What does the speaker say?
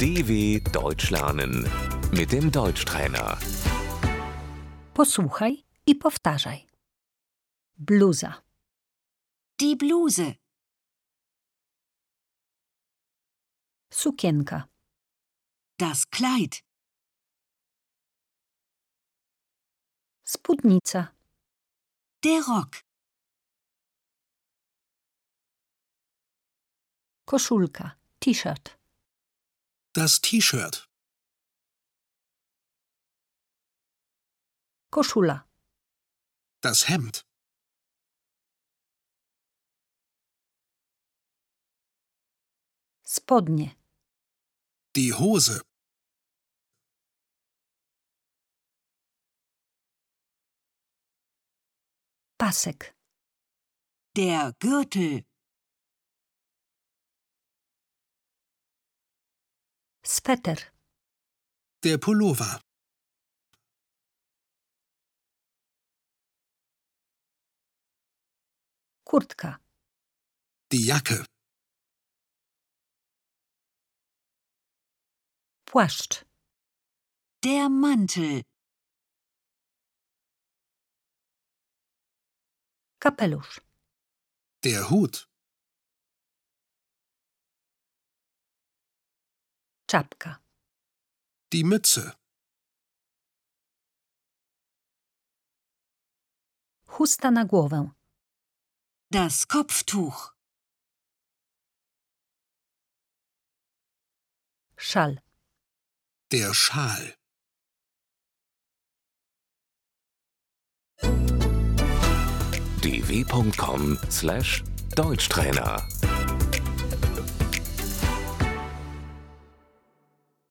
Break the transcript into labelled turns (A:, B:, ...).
A: DW Deutsch lernen mit dem Deutschtrainer.
B: Posłuchaj i powtarzaj. Bluza,
C: Die Bluse,
B: sukienka,
C: das Kleid,
B: spódnica,
C: der Rock,
B: koszulka, t-shirt,
D: Das T-Shirt,
B: koszula,
D: das Hemd,
B: spodnie,
D: die Hose,
B: pasek,
C: der Gürtel,
B: sweter,
D: der Pullover,
B: kurtka,
D: die Jacke,
B: płaszcz,
C: der Mantel,
B: kapelusz,
D: der Hut,
B: czapka,
D: die Mütze,
B: chusta na głowę,
C: das Kopftuch,
B: szal,
D: der Schal.
A: dw.com/deutschtrainer